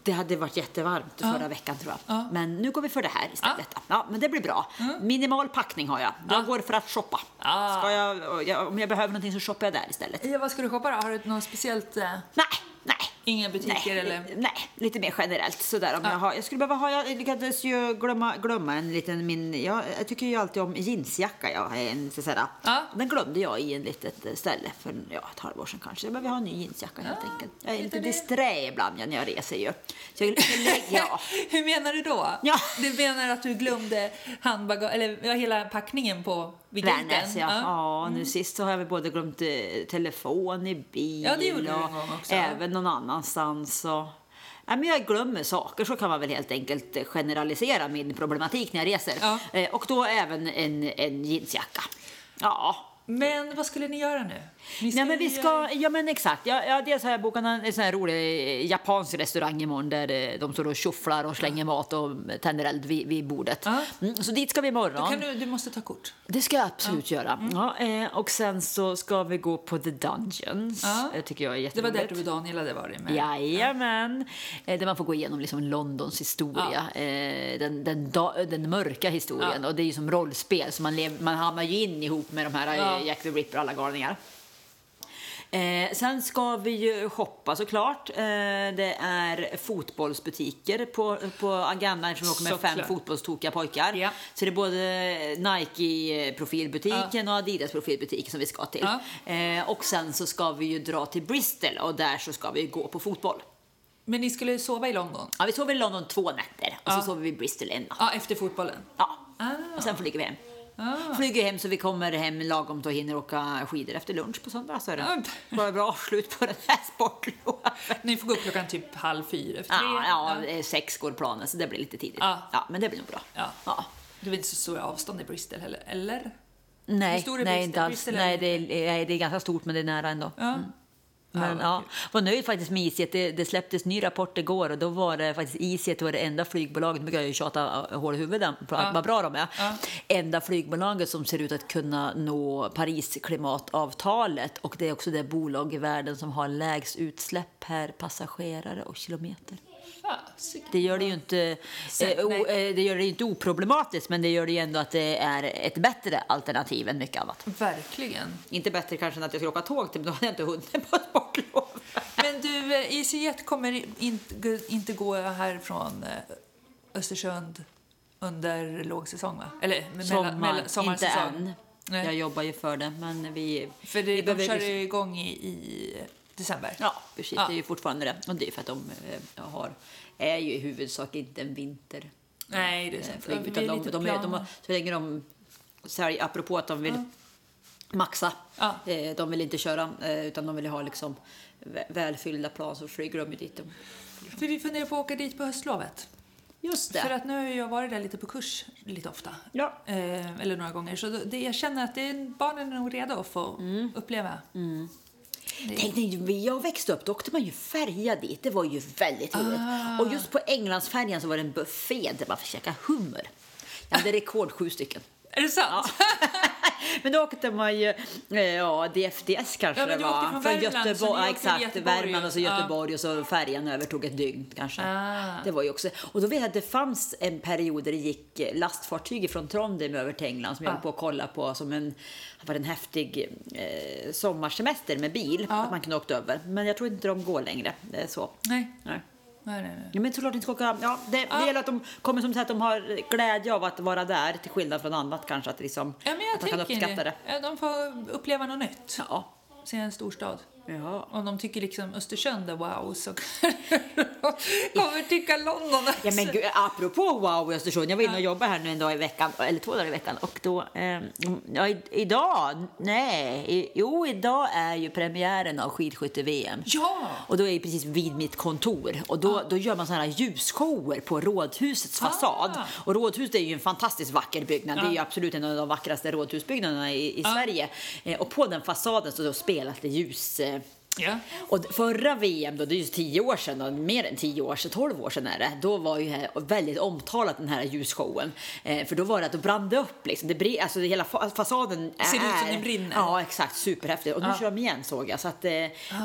[SPEAKER 1] Det hade varit jättevarmt förra veckan tror jag.
[SPEAKER 2] Ja.
[SPEAKER 1] Men nu går vi för det här istället. Ja. men det blir bra. Minimal packning har jag. Jag går för att shoppa.
[SPEAKER 2] Ah.
[SPEAKER 1] Ska jag, jag, om jag behöver någonting så shoppar jag där istället.
[SPEAKER 2] Ja, vad ska du shoppa då? Har du något speciellt? eh,
[SPEAKER 1] Nej, nej.
[SPEAKER 2] Inga butiker
[SPEAKER 1] nej,
[SPEAKER 2] eller?
[SPEAKER 1] Nej, lite mer generellt sådär om jag har. Jag skulle behöva ha, jag lyckades ju glömma, glömma en liten min, jag, jag tycker ju alltid om jeansjacka. Jag har en sådär,
[SPEAKER 2] Ja.
[SPEAKER 1] Den glömde jag i en litet eh, ställe för ja, ett halvår sedan kanske. Jag behöver ha en ny jeansjacka helt enkelt. Jag är
[SPEAKER 2] lite
[SPEAKER 1] lite
[SPEAKER 2] det.
[SPEAKER 1] disträ ibland ja, när jag reser ju. Så jag, jag lägger av.
[SPEAKER 2] Hur menar du då?
[SPEAKER 1] Ja.
[SPEAKER 2] Du menar att du glömde handbagage, eller ja, hela packningen på Vigiliten?
[SPEAKER 1] Vännäs, ja. ja.
[SPEAKER 2] Mm.
[SPEAKER 1] nu sist så har jag väl både glömt eh, telefon i bil
[SPEAKER 2] Ja, det gjorde du en
[SPEAKER 1] och
[SPEAKER 2] gång också.
[SPEAKER 1] även någon annanstans. Och... Nej, men jag glömmer saker, så kan man väl helt enkelt eh, generalisera min problematik när jag reser.
[SPEAKER 2] Ja.
[SPEAKER 1] Eh, Och då även en, en jeansjacka. Ja.
[SPEAKER 2] Men vad skulle ni göra nu? Ni
[SPEAKER 1] Nej, men vi
[SPEAKER 2] ju
[SPEAKER 1] ska, ja men exakt. Ja, ja, dels har jag bokat en, en sån här rolig eh, japansk restaurang imorgon där eh, de står och tjofflar och slänger mat och tänder eld vid, vid bordet.
[SPEAKER 2] Ja.
[SPEAKER 1] Mm, så dit ska vi imorgon.
[SPEAKER 2] göra- Kan du, du måste ta kort.
[SPEAKER 1] Det ska jag absolut göra.
[SPEAKER 2] Mm.
[SPEAKER 1] Ja, eh, och sen så ska vi gå på The Dungeons.
[SPEAKER 2] Ja.
[SPEAKER 1] Det tycker jag är
[SPEAKER 2] Det var
[SPEAKER 1] jätteroligt.
[SPEAKER 2] där du och Daniel hade varit med.
[SPEAKER 1] Jajamän! Eh, Där man får gå igenom liksom Londons historia, eh, den, den, da, den mörka historien. Och det är ju som rollspel, så man, lev, man hamnar ju in ihop med de här eh,
[SPEAKER 2] Ja.
[SPEAKER 1] Jack the Ripper och alla galningar. Eh, sen ska vi ju shoppa såklart. Eh, det är fotbollsbutiker på, på agendan eftersom vi åker med fem
[SPEAKER 2] Såklart.
[SPEAKER 1] fotbollstokiga pojkar.
[SPEAKER 2] Ja.
[SPEAKER 1] Så det är både Nike-profilbutiken och Adidas-profilbutiken som vi ska till. Eh, och sen så ska vi ju dra till Bristol och där så ska vi gå på fotboll.
[SPEAKER 2] Men ni skulle sova i London?
[SPEAKER 1] Ja, vi sov i London två nätter och så
[SPEAKER 2] Ja.
[SPEAKER 1] sov vi i Bristol en natt.
[SPEAKER 2] Ja, efter fotbollen.
[SPEAKER 1] Ja.
[SPEAKER 2] Ah.
[SPEAKER 1] Och sen flyger vi hem. Flyger hem så vi kommer hem lagom till och hinner åka skidor efter lunch på söndag. Så är det
[SPEAKER 2] Ja.
[SPEAKER 1] bara bra avslut på den här sportlovet.
[SPEAKER 2] Ni får gå upp klockan typ halv fyra, efter
[SPEAKER 1] Ja,
[SPEAKER 2] tre.
[SPEAKER 1] ja, eh, sex går planen så det blir lite tidigt.
[SPEAKER 2] Ja.
[SPEAKER 1] Ja, men det blir nog bra.
[SPEAKER 2] Ja.
[SPEAKER 1] Ja.
[SPEAKER 2] Det är inte så stora avstånd i Bristol heller, eller? Hur
[SPEAKER 1] Nej,
[SPEAKER 2] stor är
[SPEAKER 1] nej,
[SPEAKER 2] Bristol?
[SPEAKER 1] inte alls.
[SPEAKER 2] Bristol är
[SPEAKER 1] nej, det är, nej, det är ganska stort men det är nära ändå.
[SPEAKER 2] Ja.
[SPEAKER 1] Men, ja, var nöjd faktiskt med EasyJet. Det, det släpptes ny rapport igår och då var det faktiskt EasyJet var det enda flygbolaget, nu brukar jag ju tjata hål i huvudet på att vad bra de är, enda flygbolaget som ser ut att kunna nå Paris klimatavtalet och det är också det bolag i världen som har lägst utsläpp per passagerare och kilometer.
[SPEAKER 2] Fasiken.
[SPEAKER 1] Det gör det ju inte, eh, o, eh, det gör det ju inte oproblematiskt men det gör det ju ändå att det är ett bättre alternativ än mycket annat.
[SPEAKER 2] Verkligen.
[SPEAKER 1] Inte bättre kanske än att jag skulle åka tåg till, men då hade jag inte hunnit på ett sportlov.
[SPEAKER 2] Men du, eh, EasyJet kommer inte, gå- inte gå härifrån eh, Östersund under lågsäsong, va? Eller med-
[SPEAKER 1] Sommar, inte
[SPEAKER 2] sommarsäsong.
[SPEAKER 1] än.
[SPEAKER 2] Nej.
[SPEAKER 1] Jag jobbar ju för det, men vi...
[SPEAKER 2] För det,
[SPEAKER 1] vi
[SPEAKER 2] de
[SPEAKER 1] behöver-
[SPEAKER 2] kör ju igång i, i december.
[SPEAKER 1] Ja, precis.
[SPEAKER 2] Ja.
[SPEAKER 1] Det är ju fortfarande det. Och det är ju för att de eh, har, är ju i huvudsak inte en vinter.
[SPEAKER 2] Nej, det är
[SPEAKER 1] eh,
[SPEAKER 2] sant.
[SPEAKER 1] flyg,
[SPEAKER 2] Vi
[SPEAKER 1] utan
[SPEAKER 2] är
[SPEAKER 1] de,
[SPEAKER 2] lite
[SPEAKER 1] de, är, de,
[SPEAKER 2] plana.
[SPEAKER 1] har- så länge de, så här, apropå att de vill maxa,
[SPEAKER 2] Ja.
[SPEAKER 1] eh, de vill inte köra, eh, utan de vill ha liksom vä- välfyllda plan så flyger de ju dit. de-
[SPEAKER 2] För vi funderar på att åka dit på höstlovet.
[SPEAKER 1] Just det.
[SPEAKER 2] För att nu har jag varit där lite på kurs lite ofta.
[SPEAKER 1] Ja.
[SPEAKER 2] Eh, eller några gånger. Så det, jag känner att det, barnen är nog redo att få
[SPEAKER 1] Mm.
[SPEAKER 2] uppleva.
[SPEAKER 1] Tänk dig, när jag växte upp då åkte man ju färja dit. Det var ju väldigt roligt. Och just på Englandsfärjan så var det en buffé där man fick käka hummer. Jag hade rekord sju stycken.
[SPEAKER 2] Är det sant?
[SPEAKER 1] Men då åkte man ju, eh, ja DFDS kanske
[SPEAKER 2] Ja, men
[SPEAKER 1] det
[SPEAKER 2] du
[SPEAKER 1] var.
[SPEAKER 2] åkte från Värmland, så ni
[SPEAKER 1] Göteborg,
[SPEAKER 2] åkte
[SPEAKER 1] ja,
[SPEAKER 2] till
[SPEAKER 1] exakt,
[SPEAKER 2] Göteborg.
[SPEAKER 1] Värmland och så
[SPEAKER 2] Ja.
[SPEAKER 1] Göteborg och så färjan över tog ett dygn kanske.
[SPEAKER 2] Ah.
[SPEAKER 1] Det var ju också, och då vet jag att det fanns en period där det gick lastfartyg från Trondheim över till England
[SPEAKER 2] Ah.
[SPEAKER 1] som jag höll på att kolla på som en, det var en häftig eh, sommarsemester med bil.
[SPEAKER 2] Ah.
[SPEAKER 1] Att man kunde åkt över. Men jag tror inte de går längre. Det är så.
[SPEAKER 2] Nej.
[SPEAKER 1] Nej.
[SPEAKER 2] Nej, nej, nej.
[SPEAKER 1] Ja, men såklart inte ska åka. Ja, det,
[SPEAKER 2] Ah.
[SPEAKER 1] det gäller att de kommer som sagt att de har glädje av att vara där till skillnad från annat kanske. Att, liksom,
[SPEAKER 2] Ja, men jag
[SPEAKER 1] att man kan
[SPEAKER 2] tänker
[SPEAKER 1] uppskatta det.
[SPEAKER 2] Ja, De får uppleva något nytt.
[SPEAKER 1] Ja.
[SPEAKER 2] Se en storstad.
[SPEAKER 1] Ja.
[SPEAKER 2] Om de tycker liksom Östersund är wow så kommer tycka London också.
[SPEAKER 1] Ja, men gud, apropå wow i Östersund, jag var inne och jobbade här nu en dag i veckan, eller två dagar i veckan och då, eh, ja, i, idag, nej, i, jo idag är ju premiären av skidskytte-VM.
[SPEAKER 2] Ja!
[SPEAKER 1] Och då är jag precis vid mitt kontor och då, då gör man sådana här ljusshower på rådhusets fasad.
[SPEAKER 2] Ah.
[SPEAKER 1] Och rådhuset är ju en fantastiskt vacker byggnad, det är ju absolut en av de vackraste rådhusbyggnaderna i, i Sverige. Eh, och på den fasaden så, så spelas det ljus... Eh,
[SPEAKER 2] Ja.
[SPEAKER 1] och förra VM, då, det är ju tio år sedan, då, mer än tio år sedan, tolv år sedan är det, då var ju här väldigt omtalat den här ljusshowen. Eh, för då var det att då brann det upp liksom. Det bri- alltså det, hela fa- fasaden
[SPEAKER 2] Ser ut som
[SPEAKER 1] är,
[SPEAKER 2] den brinner. Ah.
[SPEAKER 1] Ja, exakt. Superhäftigt. Och nu kör de igen såg jag. Så att eh, eh,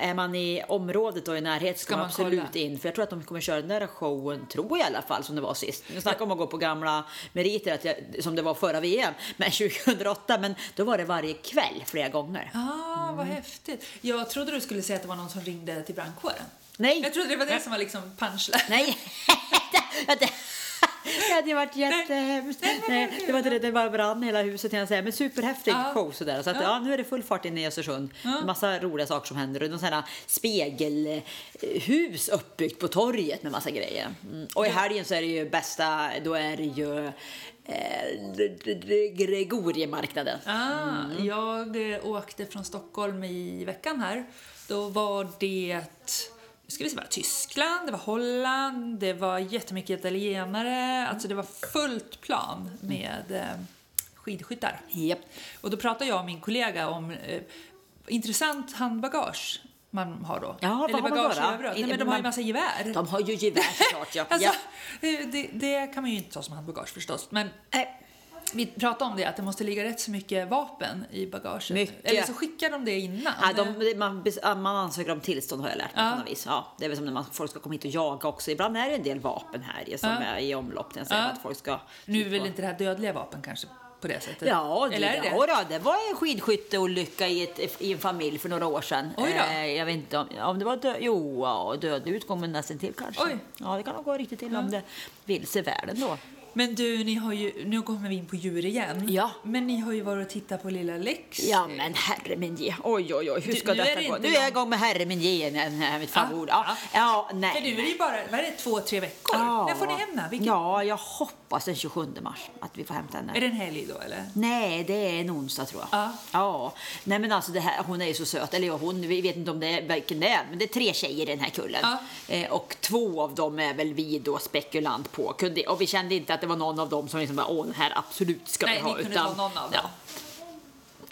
[SPEAKER 1] är man i området och i närhet ska,
[SPEAKER 2] Ska
[SPEAKER 1] man
[SPEAKER 2] man
[SPEAKER 1] absolut
[SPEAKER 2] kolla?
[SPEAKER 1] in. För jag tror att de kommer köra den där showen, tror jag i alla fall, som det var sist. Nu snackar om att gå på gamla meriter, att jag, som det var förra VM, men 2008. Men då var det varje kväll flera gånger.
[SPEAKER 2] Ah, vad
[SPEAKER 1] Mm.
[SPEAKER 2] häftigt. Jag trodde du skulle säga att det var någon som ringde till brandkåren.
[SPEAKER 1] Nej.
[SPEAKER 2] Jag trodde det var det som var liksom punchline.
[SPEAKER 1] Nej, det, det, det hade ju varit jättehemskt.
[SPEAKER 2] Nej, men
[SPEAKER 1] Nej, det var inte det, det bara brann hela huset kan jag säga. Men superhäftig
[SPEAKER 2] Ja.
[SPEAKER 1] show sådär. Så att, ja. nu är det full fart inne i Östersund. Massa roliga saker som händer. Och de sådana spegelhus uppbyggt på torget med massa grejer. Mm. Och i helgen så är det ju bästa, då är det ju eh, Gregoriemarknaden.
[SPEAKER 2] Ah,
[SPEAKER 1] Mm.
[SPEAKER 2] Jag eh, åkte från Stockholm i veckan här. Då var det nu ska vi se, det var Tyskland, det var Holland, det var jättemycket italienare. Alltså det var fullt plan med eh, skidskyttar.
[SPEAKER 1] Japp.
[SPEAKER 2] Och då pratade jag och min kollega om eh, intressant handbagage man har då.
[SPEAKER 1] Ja, vad
[SPEAKER 2] Eller
[SPEAKER 1] har man då,
[SPEAKER 2] bagage
[SPEAKER 1] då?
[SPEAKER 2] i övrigt. Nej,
[SPEAKER 1] In-
[SPEAKER 2] men de har ju
[SPEAKER 1] man-
[SPEAKER 2] massa gevär.
[SPEAKER 1] De har ju gevär såklart. Ja.
[SPEAKER 2] Alltså,
[SPEAKER 1] ja.
[SPEAKER 2] eh, det, det kan man ju inte ta som handbagage förstås. Men
[SPEAKER 1] Nej.
[SPEAKER 2] vi pratade om det, att det måste ligga rätt så mycket vapen i bagaget.
[SPEAKER 1] Mycket.
[SPEAKER 2] Eller så skickar de det innan.
[SPEAKER 1] Ja, de, man, bes- ja, man ansöker om tillstånd har jag lärt mig
[SPEAKER 2] Ja.
[SPEAKER 1] på något vis. Ja, det är väl som när man, folk ska komma hit och jaga också. Ibland är det en del vapen här ju som
[SPEAKER 2] Ja.
[SPEAKER 1] är i omlopp. Jag säger
[SPEAKER 2] Ja.
[SPEAKER 1] att folk ska
[SPEAKER 2] Nu är väl inte det här dödliga vapen kanske på det sättet?
[SPEAKER 1] Ja, det,
[SPEAKER 2] Eller är det
[SPEAKER 1] ja, då, det var en skidskytteolycka i, ett, i en familj för några år sedan.
[SPEAKER 2] Oj då.
[SPEAKER 1] Eh, jag vet inte om, om det var dö, jo, ja, dödlig utgång men nästan till kanske.
[SPEAKER 2] Oj.
[SPEAKER 1] Ja, det kan nog gå riktigt illa om det vill sig väl ändå.
[SPEAKER 2] Men du, ni har ju, nu kommer vi in på djur igen.
[SPEAKER 1] Ja.
[SPEAKER 2] Men ni har ju varit och tittat på lilla Lex.
[SPEAKER 1] Ja, men herre min ge. Oj, oj, oj. Hur
[SPEAKER 2] Du-
[SPEAKER 1] ska
[SPEAKER 2] nu är
[SPEAKER 1] detta
[SPEAKER 2] det
[SPEAKER 1] gå?
[SPEAKER 2] inte
[SPEAKER 1] Nu är jag
[SPEAKER 2] någon-
[SPEAKER 1] igång med herre min ge igen. här, Mitt favorit.
[SPEAKER 2] Ja,
[SPEAKER 1] Ja, ja, nej.
[SPEAKER 2] För du är ju bara, vad är det, två, tre veckor?
[SPEAKER 1] Ja.
[SPEAKER 2] När får ni hem henne? Vilken-
[SPEAKER 1] Ja, jag hoppas den 27 mars att vi får hämta henne.
[SPEAKER 2] Är det en helg då eller?
[SPEAKER 1] Nej, det är en onsdag tror jag.
[SPEAKER 2] Ja.
[SPEAKER 1] Nej men alltså det här, hon är ju så söt. Eller ja, hon, vi vet inte om det är, vilken det är, men det är tre tjejer i den här kullen. Eh, och två av dem är väl vi då spekulant på. Kunde, och vi kände inte att det var någon av dem som liksom bara, åh den här absolut ska
[SPEAKER 2] Nej,
[SPEAKER 1] vi ha.
[SPEAKER 2] ni kunde ta någon av
[SPEAKER 1] ja,
[SPEAKER 2] dem.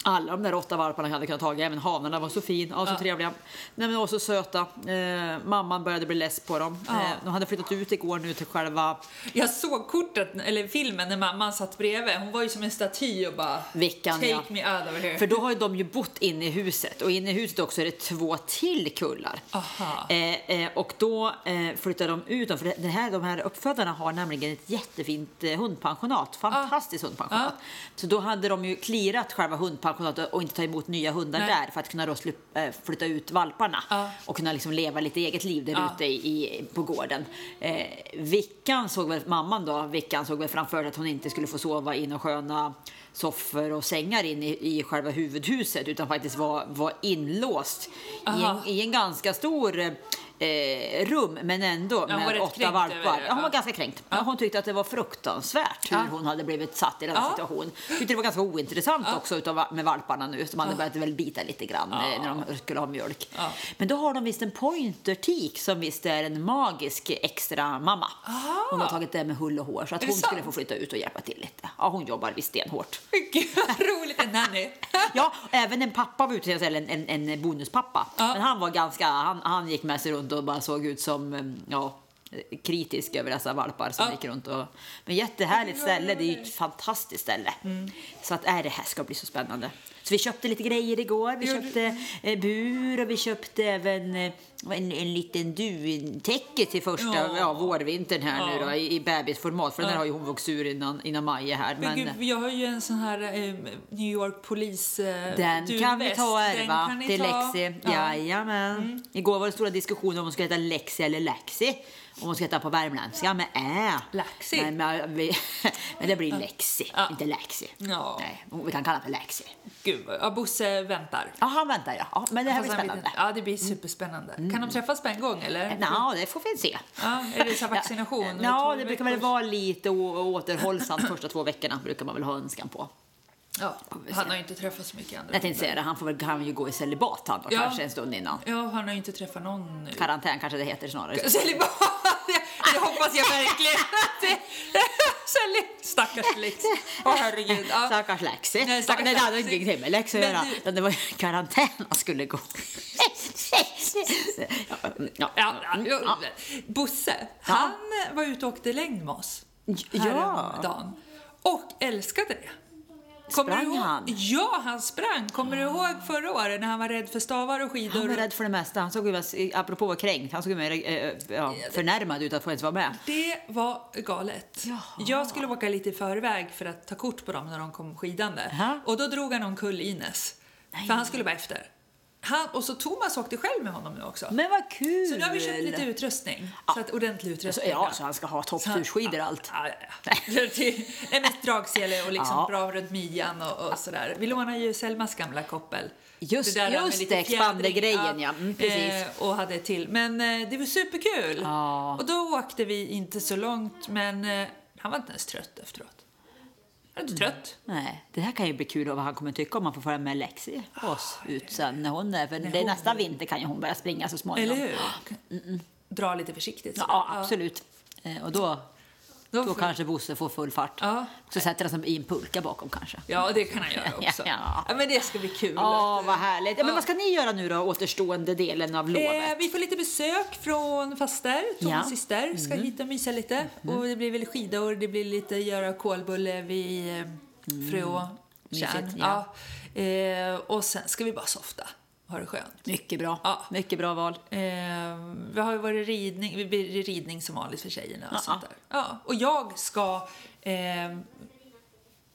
[SPEAKER 1] alla de där åtta varparna hade kunnat tagit, även hanarna var så fina och så
[SPEAKER 2] Ja.
[SPEAKER 1] trevliga. Nej, men och så söta. Eh, mamman började bli less på dem.
[SPEAKER 2] Ja.
[SPEAKER 1] Eh, de hade flyttat ut igår nu till själva,
[SPEAKER 2] Jag såg kortet, eller filmen, när mamman satt bredvid. Hon var ju som en staty och bara
[SPEAKER 1] Vickan,
[SPEAKER 2] Take
[SPEAKER 1] ja.
[SPEAKER 2] me out of here.
[SPEAKER 1] för då har ju de ju bott inne i huset och inne i huset också är det två till kullar.
[SPEAKER 2] Aha.
[SPEAKER 1] Eh, eh, och då eh, flyttar de ut dem, för det- det här, de här uppfödarna har nämligen ett jättefint eh, hundpensionat,
[SPEAKER 2] Ah.
[SPEAKER 1] fantastiskt hundpensionat. Så då hade de ju clearat själva hundpensionatet och inte tagit emot nya hundar
[SPEAKER 2] Nej. Ah.
[SPEAKER 1] där för att kunna då slu- eh, flytta ut valparna
[SPEAKER 2] Ja.
[SPEAKER 1] och kunna liksom leva lite eget liv där
[SPEAKER 2] Ja.
[SPEAKER 1] ute i, i, på gården. Eh, Vickan såg väl, mamman då, Vickan såg väl framför sig att hon inte skulle få sova i några sköna soffor och sängar in i, i själva huvudhuset utan faktiskt var, var inlåst i
[SPEAKER 2] Aha.
[SPEAKER 1] en, i en ganska stor eh, rum men ändå
[SPEAKER 2] Ja, hon var
[SPEAKER 1] med
[SPEAKER 2] rätt
[SPEAKER 1] åtta
[SPEAKER 2] kränkt över
[SPEAKER 1] valpar.
[SPEAKER 2] det,
[SPEAKER 1] Ja, hon var
[SPEAKER 2] ja.
[SPEAKER 1] ganska kränkt. Ja. Hon tyckte att det var fruktansvärt hur
[SPEAKER 2] Ja.
[SPEAKER 1] hon hade blivit satt i den här
[SPEAKER 2] Ja.
[SPEAKER 1] situationen. Tyckte det var ganska ointressant också utav, med valparna nu som hade börjat väl bita lite grann eh, när de skulle ha mjölk.
[SPEAKER 2] Ja.
[SPEAKER 1] Men då har de visst en pointertik som visst är en magisk extra mamma.
[SPEAKER 2] Aha.
[SPEAKER 1] Hon har tagit det med hull och hår så att
[SPEAKER 2] Är
[SPEAKER 1] hon
[SPEAKER 2] det
[SPEAKER 1] skulle
[SPEAKER 2] sant?
[SPEAKER 1] få flytta ut och hjälpa till lite. Ja, hon jobbar visst stenhårt.
[SPEAKER 2] Gud vad roligt, en nanny.
[SPEAKER 1] Ja, även en pappa var ute, eller en, en, en bonuspappa.
[SPEAKER 2] Ja.
[SPEAKER 1] Men han var ganska, han, han gick med sig runt och bara såg ut som, eh, ja, kritisk över dessa valpar som
[SPEAKER 2] Ja.
[SPEAKER 1] gick runt och... Men jättehärligt ställe, det är ju ett fantastiskt ställe.
[SPEAKER 2] Mm.
[SPEAKER 1] Så att, äh, det här ska bli så spännande. Så vi köpte lite grejer igår, vi
[SPEAKER 2] Gjorde-
[SPEAKER 1] köpte eh, bur och vi köpte även eh, en, en liten duntäcke till första ja.
[SPEAKER 2] Ja.
[SPEAKER 1] vårvintern här nu
[SPEAKER 2] Ja.
[SPEAKER 1] då i, i bebisformat för den här har ju hon vuxit ur innan, innan maj är här.
[SPEAKER 2] Men gud, jag har ju en sån här eh, New York polis... Eh,
[SPEAKER 1] Den
[SPEAKER 2] du
[SPEAKER 1] kan vi
[SPEAKER 2] väst.
[SPEAKER 1] ta
[SPEAKER 2] Den
[SPEAKER 1] Erva
[SPEAKER 2] kan ni
[SPEAKER 1] till
[SPEAKER 2] ta. Mm.
[SPEAKER 1] Lexi. Jajamän. Igår var det stora diskussioner om hon skulle heta Lexi eller Lexi. Om hon ska heta på värmländska med Ä.
[SPEAKER 2] Laxi.
[SPEAKER 1] Men, men, vi, men det blir Lexi,
[SPEAKER 2] Ja.
[SPEAKER 1] inte Läxi.
[SPEAKER 2] Ja.
[SPEAKER 1] Nej, vi kan kalla henne för Läxi.
[SPEAKER 2] Gud, ja, Bosse väntar.
[SPEAKER 1] Ja, han väntar ja. ja. Men det här blir
[SPEAKER 2] Fast han vet
[SPEAKER 1] spännande. Mm.
[SPEAKER 2] inte. Ja, det blir superspännande. Kan de träffas på en gång eller?
[SPEAKER 1] Ja, det får vi se.
[SPEAKER 2] Ja, är det så här vaccination?
[SPEAKER 1] Ja,
[SPEAKER 2] Tolv
[SPEAKER 1] det brukar väl
[SPEAKER 2] veckors-
[SPEAKER 1] vara lite å- återhållsamt första två veckorna brukar man väl ha önskan på.
[SPEAKER 2] Ja,
[SPEAKER 1] se.
[SPEAKER 2] han har ju inte träffat så mycket andra.
[SPEAKER 1] Jag tänkte säga det, han får väl, kan ju gå i celibat han då,
[SPEAKER 2] Ja.
[SPEAKER 1] kanske en stund innan.
[SPEAKER 2] Ja, han har ju inte träffat någon nu.
[SPEAKER 1] Karantän kanske det heter snarare.
[SPEAKER 2] Celibat! Det hoppas jag verkligen. Celibat. Stackars Lex. Åh herregud. Ja.
[SPEAKER 1] Stackars Lexi. Stackars
[SPEAKER 2] Nej, stackars
[SPEAKER 1] Nej, det hade
[SPEAKER 2] Lexi.
[SPEAKER 1] ingenting med Lexi att
[SPEAKER 2] Men
[SPEAKER 1] göra.
[SPEAKER 2] du-
[SPEAKER 1] utan Det var ju karantän han skulle gå. Ja, ja,
[SPEAKER 2] Ja,
[SPEAKER 1] Mm. ja.
[SPEAKER 2] ja. Bosse, han var ute och åkte längd med oss häromdagen och älskade det.
[SPEAKER 1] Sprang
[SPEAKER 2] du ihåg?
[SPEAKER 1] han?
[SPEAKER 2] Ja, han sprang. Kommer du ihåg förra året när han var rädd för stavar och skidor?
[SPEAKER 1] Han var rädd för det mesta. Han såg ju, mest- apropå att vara kränkt, han såg ju mer eh, ja, förnärmad ut att få ens vara med.
[SPEAKER 2] Det var galet.
[SPEAKER 1] Jaha.
[SPEAKER 2] Jag skulle åka lite i förväg för att ta kort på dem när de kom skidande.
[SPEAKER 1] Jaha.
[SPEAKER 2] Och då drog han omkull Ines. För han skulle bara efter. Han, och så Thomas åkte själv med honom nu också.
[SPEAKER 1] Men vad kul!
[SPEAKER 2] Så nu har vi köpt lite utrustning. Så att ordentlig
[SPEAKER 1] Så,
[SPEAKER 2] utrustning.
[SPEAKER 1] ja, så han ska ha
[SPEAKER 2] Så han-
[SPEAKER 1] toppturskidor och allt.
[SPEAKER 2] Ja, typ ja, ja. Till- Nej, men dragsele och liksom
[SPEAKER 1] Ja.
[SPEAKER 2] bra runt midjan och, och sådär. Vi lånar ju Selmas gamla koppel.
[SPEAKER 1] Just-
[SPEAKER 2] med
[SPEAKER 1] just
[SPEAKER 2] lite
[SPEAKER 1] det, expandergrejen, ja. Mm, precis.
[SPEAKER 2] Eh, och hade ett till. Men eh, det var superkul.
[SPEAKER 1] Ja.
[SPEAKER 2] Och då åkte vi inte så långt, men eh, han var inte ens trött efteråt. Han var inte
[SPEAKER 1] Mm.
[SPEAKER 2] trött.
[SPEAKER 1] Nej, det här kan ju bli kul och vad han kommer tycka om han får följa med Lexi oss ut sen när hon är, för det är nästa vinter kan ju hon börja springa så småningom.
[SPEAKER 2] Eller hur? Dra lite försiktigt. sådär.
[SPEAKER 1] Ja, absolut. Eh, Och då,
[SPEAKER 2] Då
[SPEAKER 1] då
[SPEAKER 2] får-
[SPEAKER 1] kanske Bosse får full fart.
[SPEAKER 2] Ja.
[SPEAKER 1] Så sätter han sig i en pulka bakom kanske.
[SPEAKER 2] Ja, det kan han göra också.
[SPEAKER 1] Ja.
[SPEAKER 2] men det ska bli kul.
[SPEAKER 1] Ja, vad härligt. Ja, men vad ska ni göra nu då, återstående delen av lovet?
[SPEAKER 2] Eh, vi får lite besök från faster, Tomas
[SPEAKER 1] Ja. Mm.
[SPEAKER 2] syster, ska hit och mysa lite. Och det blir väl skidor, det blir lite göra kolbulle vid eh, Frå Tjärn.
[SPEAKER 1] Mm. Mysigt, ja.
[SPEAKER 2] Ja. Eh, och sen ska vi bara softa, ha det skönt.
[SPEAKER 1] Mycket bra.
[SPEAKER 2] Ja.
[SPEAKER 1] Mycket bra val.
[SPEAKER 2] Eh, vi har ju varit ridning, vi blir ridning som vanligt för tjejerna och sånt där. Ja, och jag ska eh,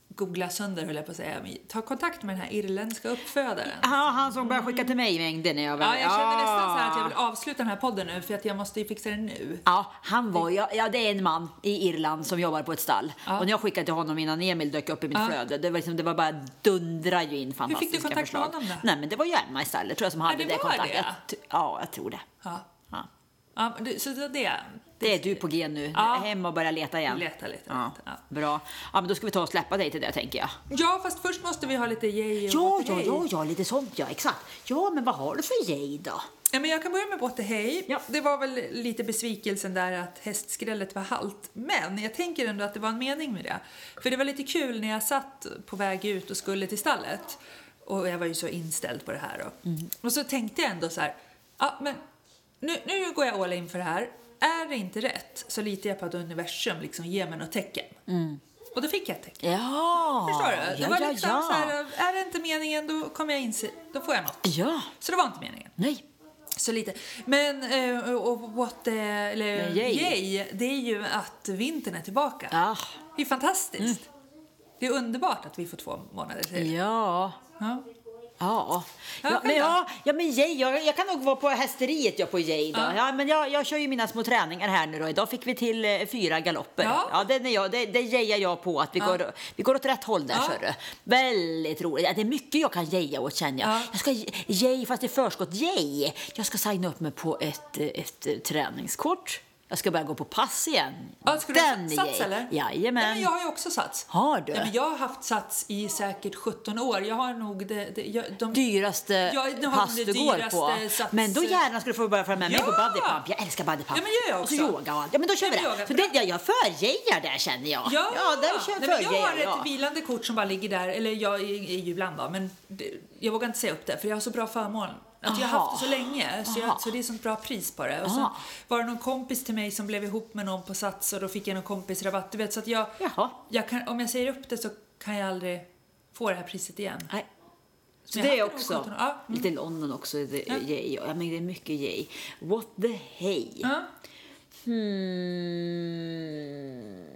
[SPEAKER 2] googla sönder höll jag på att säga. Men Ta kontakt med den här irländska uppfödaren.
[SPEAKER 1] Ja, han som började skicka till mig mängder när jag var...
[SPEAKER 2] Ja, jag känner nästan så här att jag vill avsluta den här podden nu för att jag måste ju fixa det nu.
[SPEAKER 1] Ja, han var, ja, ja, det är en man i Irland som jobbar på ett stall. Och när jag skickade till honom innan Emil dök upp i mitt flöde, det var, liksom, det var bara dundra ju in fantastiska
[SPEAKER 2] kontakt med
[SPEAKER 1] förslag.
[SPEAKER 2] honom då?
[SPEAKER 1] Nej, men det var ju Emma istället tror jag som hade
[SPEAKER 2] det
[SPEAKER 1] det,
[SPEAKER 2] var
[SPEAKER 1] kontakten.
[SPEAKER 2] det?
[SPEAKER 1] Jag t- Ja, jag tror det.
[SPEAKER 2] Ja.
[SPEAKER 1] Ja.
[SPEAKER 2] Ja, men det- så det, det
[SPEAKER 1] Det är du på G nu.
[SPEAKER 2] Ja.
[SPEAKER 1] Hem och börja leta igen.
[SPEAKER 2] leta lite.
[SPEAKER 1] Ja,
[SPEAKER 2] Ja.
[SPEAKER 1] bra. Ja, men då ska vi ta och släppa dig till det tänker jag.
[SPEAKER 2] ja, fast först måste vi ha lite yay och
[SPEAKER 1] Ja, ja,
[SPEAKER 2] återhej.
[SPEAKER 1] ja, ja, lite sånt ja, exakt. Ja, men vad har du för gej då?
[SPEAKER 2] Ja, men jag kan börja med Återhej.
[SPEAKER 1] Ja.
[SPEAKER 2] Det var väl lite besvikelsen där att hästskrället var halt. Men jag tänker ändå att det var en mening med det. För det var lite kul när jag satt på väg ut och skulle till stallet. Och jag var ju så inställd på det här då.
[SPEAKER 1] Mm.
[SPEAKER 2] Och så tänkte jag ändå så här, ja men nu, nu går jag all in för det här. Är det inte rätt så litar jag på att universum liksom ger mig något tecken.
[SPEAKER 1] Mm.
[SPEAKER 2] Och då fick jag ett tecken.
[SPEAKER 1] Ja,
[SPEAKER 2] Förstår du? Det
[SPEAKER 1] ja,
[SPEAKER 2] var
[SPEAKER 1] ja,
[SPEAKER 2] liksom
[SPEAKER 1] ja.
[SPEAKER 2] så här, är det inte meningen då kommer jag inse, då får jag något.
[SPEAKER 1] Ja,
[SPEAKER 2] Så det var inte meningen.
[SPEAKER 1] nej.
[SPEAKER 2] Så lite. Men eh, och what the, eller
[SPEAKER 1] Men yay.
[SPEAKER 2] yay, det är ju att vintern är tillbaka.
[SPEAKER 1] Ah,
[SPEAKER 2] Det är fantastiskt. Det är underbart att vi får två månader till.
[SPEAKER 1] Mm. ja.
[SPEAKER 2] Ja.
[SPEAKER 1] Ja.
[SPEAKER 2] Ja,
[SPEAKER 1] Ja,
[SPEAKER 2] själv
[SPEAKER 1] men,
[SPEAKER 2] då?
[SPEAKER 1] ja, ja, men Jay, jag, jag kan nog vara på hästeriet jag på Jay då. Ja. men jag, jag kör ju mina små träningar här nu då. Idag fick vi till eh, fyra galopper.
[SPEAKER 2] Ja.
[SPEAKER 1] det, är jag, det, det jejar jag på att vi, går, vi går åt rätt håll där.
[SPEAKER 2] Ja.
[SPEAKER 1] Ja. Du. Väldigt roligt. Ja, Det är mycket jag kan jeja åt känner jag.
[SPEAKER 2] Ja.
[SPEAKER 1] Jag ska j- Jay, fast i förskott Jay. Jag ska signa upp mig på ett, eh, ett eh, träningskort. Jag ska börja gå på pass igen.
[SPEAKER 2] Ja, ska du ha
[SPEAKER 1] Den
[SPEAKER 2] sats
[SPEAKER 1] yay.
[SPEAKER 2] eller?
[SPEAKER 1] Jajamän.
[SPEAKER 2] Nej, men jag har ju också sats.
[SPEAKER 1] Har du?
[SPEAKER 2] Ja, men jag har haft sats i säkert 17 år. Jag har nog det, det, jag, de,
[SPEAKER 1] dyraste
[SPEAKER 2] Ja, det har
[SPEAKER 1] pass
[SPEAKER 2] de
[SPEAKER 1] du går
[SPEAKER 2] dyraste
[SPEAKER 1] på.
[SPEAKER 2] sats-
[SPEAKER 1] Men då gärna skulle du få börja följa med mig
[SPEAKER 2] Ja!
[SPEAKER 1] på body pump. Jag älskar body pump.
[SPEAKER 2] Ja, men gör jag
[SPEAKER 1] Och så
[SPEAKER 2] också.
[SPEAKER 1] yoga och allt. Ja, men då kör
[SPEAKER 2] Ja,
[SPEAKER 1] vi
[SPEAKER 2] men
[SPEAKER 1] det.
[SPEAKER 2] yoga,
[SPEAKER 1] Så
[SPEAKER 2] bra.
[SPEAKER 1] det, jag förjejar där känner jag.
[SPEAKER 2] Ja,
[SPEAKER 1] ja där kör,
[SPEAKER 2] Nej, men jag har
[SPEAKER 1] förjejar
[SPEAKER 2] ett
[SPEAKER 1] jag.
[SPEAKER 2] vilande kort som bara ligger där, eller jag är, är ju ibland då, men det, jag vågar inte säga upp det för jag har så bra förmån. Att jag har haft det så länge, så,
[SPEAKER 1] Aha.
[SPEAKER 2] jag, så det är sånt bra pris på det. Och sen
[SPEAKER 1] Aha.
[SPEAKER 2] var det någon kompis till mig som blev ihop med någon på Sats och då fick jag någon kompis rabatt. Du vet, så att jag,
[SPEAKER 1] Jaha.
[SPEAKER 2] jag kan, om jag säger upp det så kan jag aldrig få det här priset igen.
[SPEAKER 1] Nej. Så
[SPEAKER 2] jag
[SPEAKER 1] det är
[SPEAKER 2] hade nog
[SPEAKER 1] också.
[SPEAKER 2] sjutton- ja, mm.
[SPEAKER 1] Lite London också. Det, ja. ja, men det är mycket yay. What the hey?
[SPEAKER 2] Ja.
[SPEAKER 1] Hmm.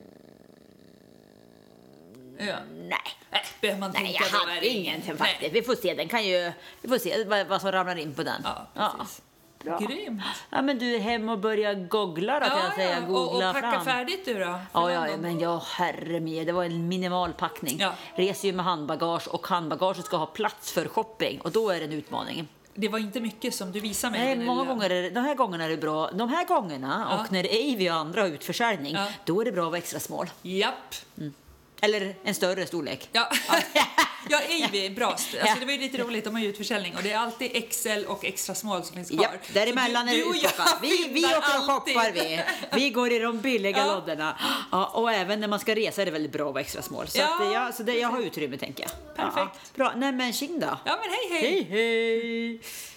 [SPEAKER 2] Ja.
[SPEAKER 1] Nej.
[SPEAKER 2] Nej, behöver man
[SPEAKER 1] Nej,
[SPEAKER 2] tänka
[SPEAKER 1] jag
[SPEAKER 2] på det här
[SPEAKER 1] hade ingenting
[SPEAKER 2] Nej.
[SPEAKER 1] faktiskt. Vi får se, den kan ju, vi får se vad, vad som ramlar in på den.
[SPEAKER 2] Ja, precis.
[SPEAKER 1] Bra.
[SPEAKER 2] Grymt.
[SPEAKER 1] Ja, men du, hem och börja googla då kan jag säga.
[SPEAKER 2] och, och
[SPEAKER 1] Googla
[SPEAKER 2] packa
[SPEAKER 1] fram.
[SPEAKER 2] färdigt du då? för
[SPEAKER 1] Ja, ja,
[SPEAKER 2] London.
[SPEAKER 1] men ja, herre min, det var en minimal packning.
[SPEAKER 2] Ja.
[SPEAKER 1] Reser ju med handbagage och handbagaget ska ha plats för shopping och då är det en utmaning.
[SPEAKER 2] Det var inte mycket som du visade mig.
[SPEAKER 1] Nej,
[SPEAKER 2] den
[SPEAKER 1] många
[SPEAKER 2] lilla-
[SPEAKER 1] gånger är det, de här gångerna är det bra. De här gångerna
[SPEAKER 2] Ja.
[SPEAKER 1] och när det är Avy och andra har utförsäljning,
[SPEAKER 2] Ja.
[SPEAKER 1] då är det bra att vara extra smål.
[SPEAKER 2] Japp.
[SPEAKER 1] Eller en större storlek.
[SPEAKER 2] Ja, ja Avy, bra. st- Alltså, det var ju lite roligt, de har ju utförsäljning och det är alltid XL och extra small som finns kvar.
[SPEAKER 1] Japp, däremellan är det
[SPEAKER 2] Så du- du och jag
[SPEAKER 1] utplockat. Vi, vi
[SPEAKER 2] finnar
[SPEAKER 1] åker och
[SPEAKER 2] alltid.
[SPEAKER 1] shoppar vi. Vi går i de billiga
[SPEAKER 2] Ja.
[SPEAKER 1] lodderna. Ja, och även när man ska resa är det väldigt bra att vara extra smål. Så,
[SPEAKER 2] Ja,
[SPEAKER 1] att, ja, så det, jag har utrymme tänker jag. Ja,
[SPEAKER 2] Perfekt.
[SPEAKER 1] bra, nej men tjing då.
[SPEAKER 2] Ja, men hej hej.
[SPEAKER 1] Hej hej!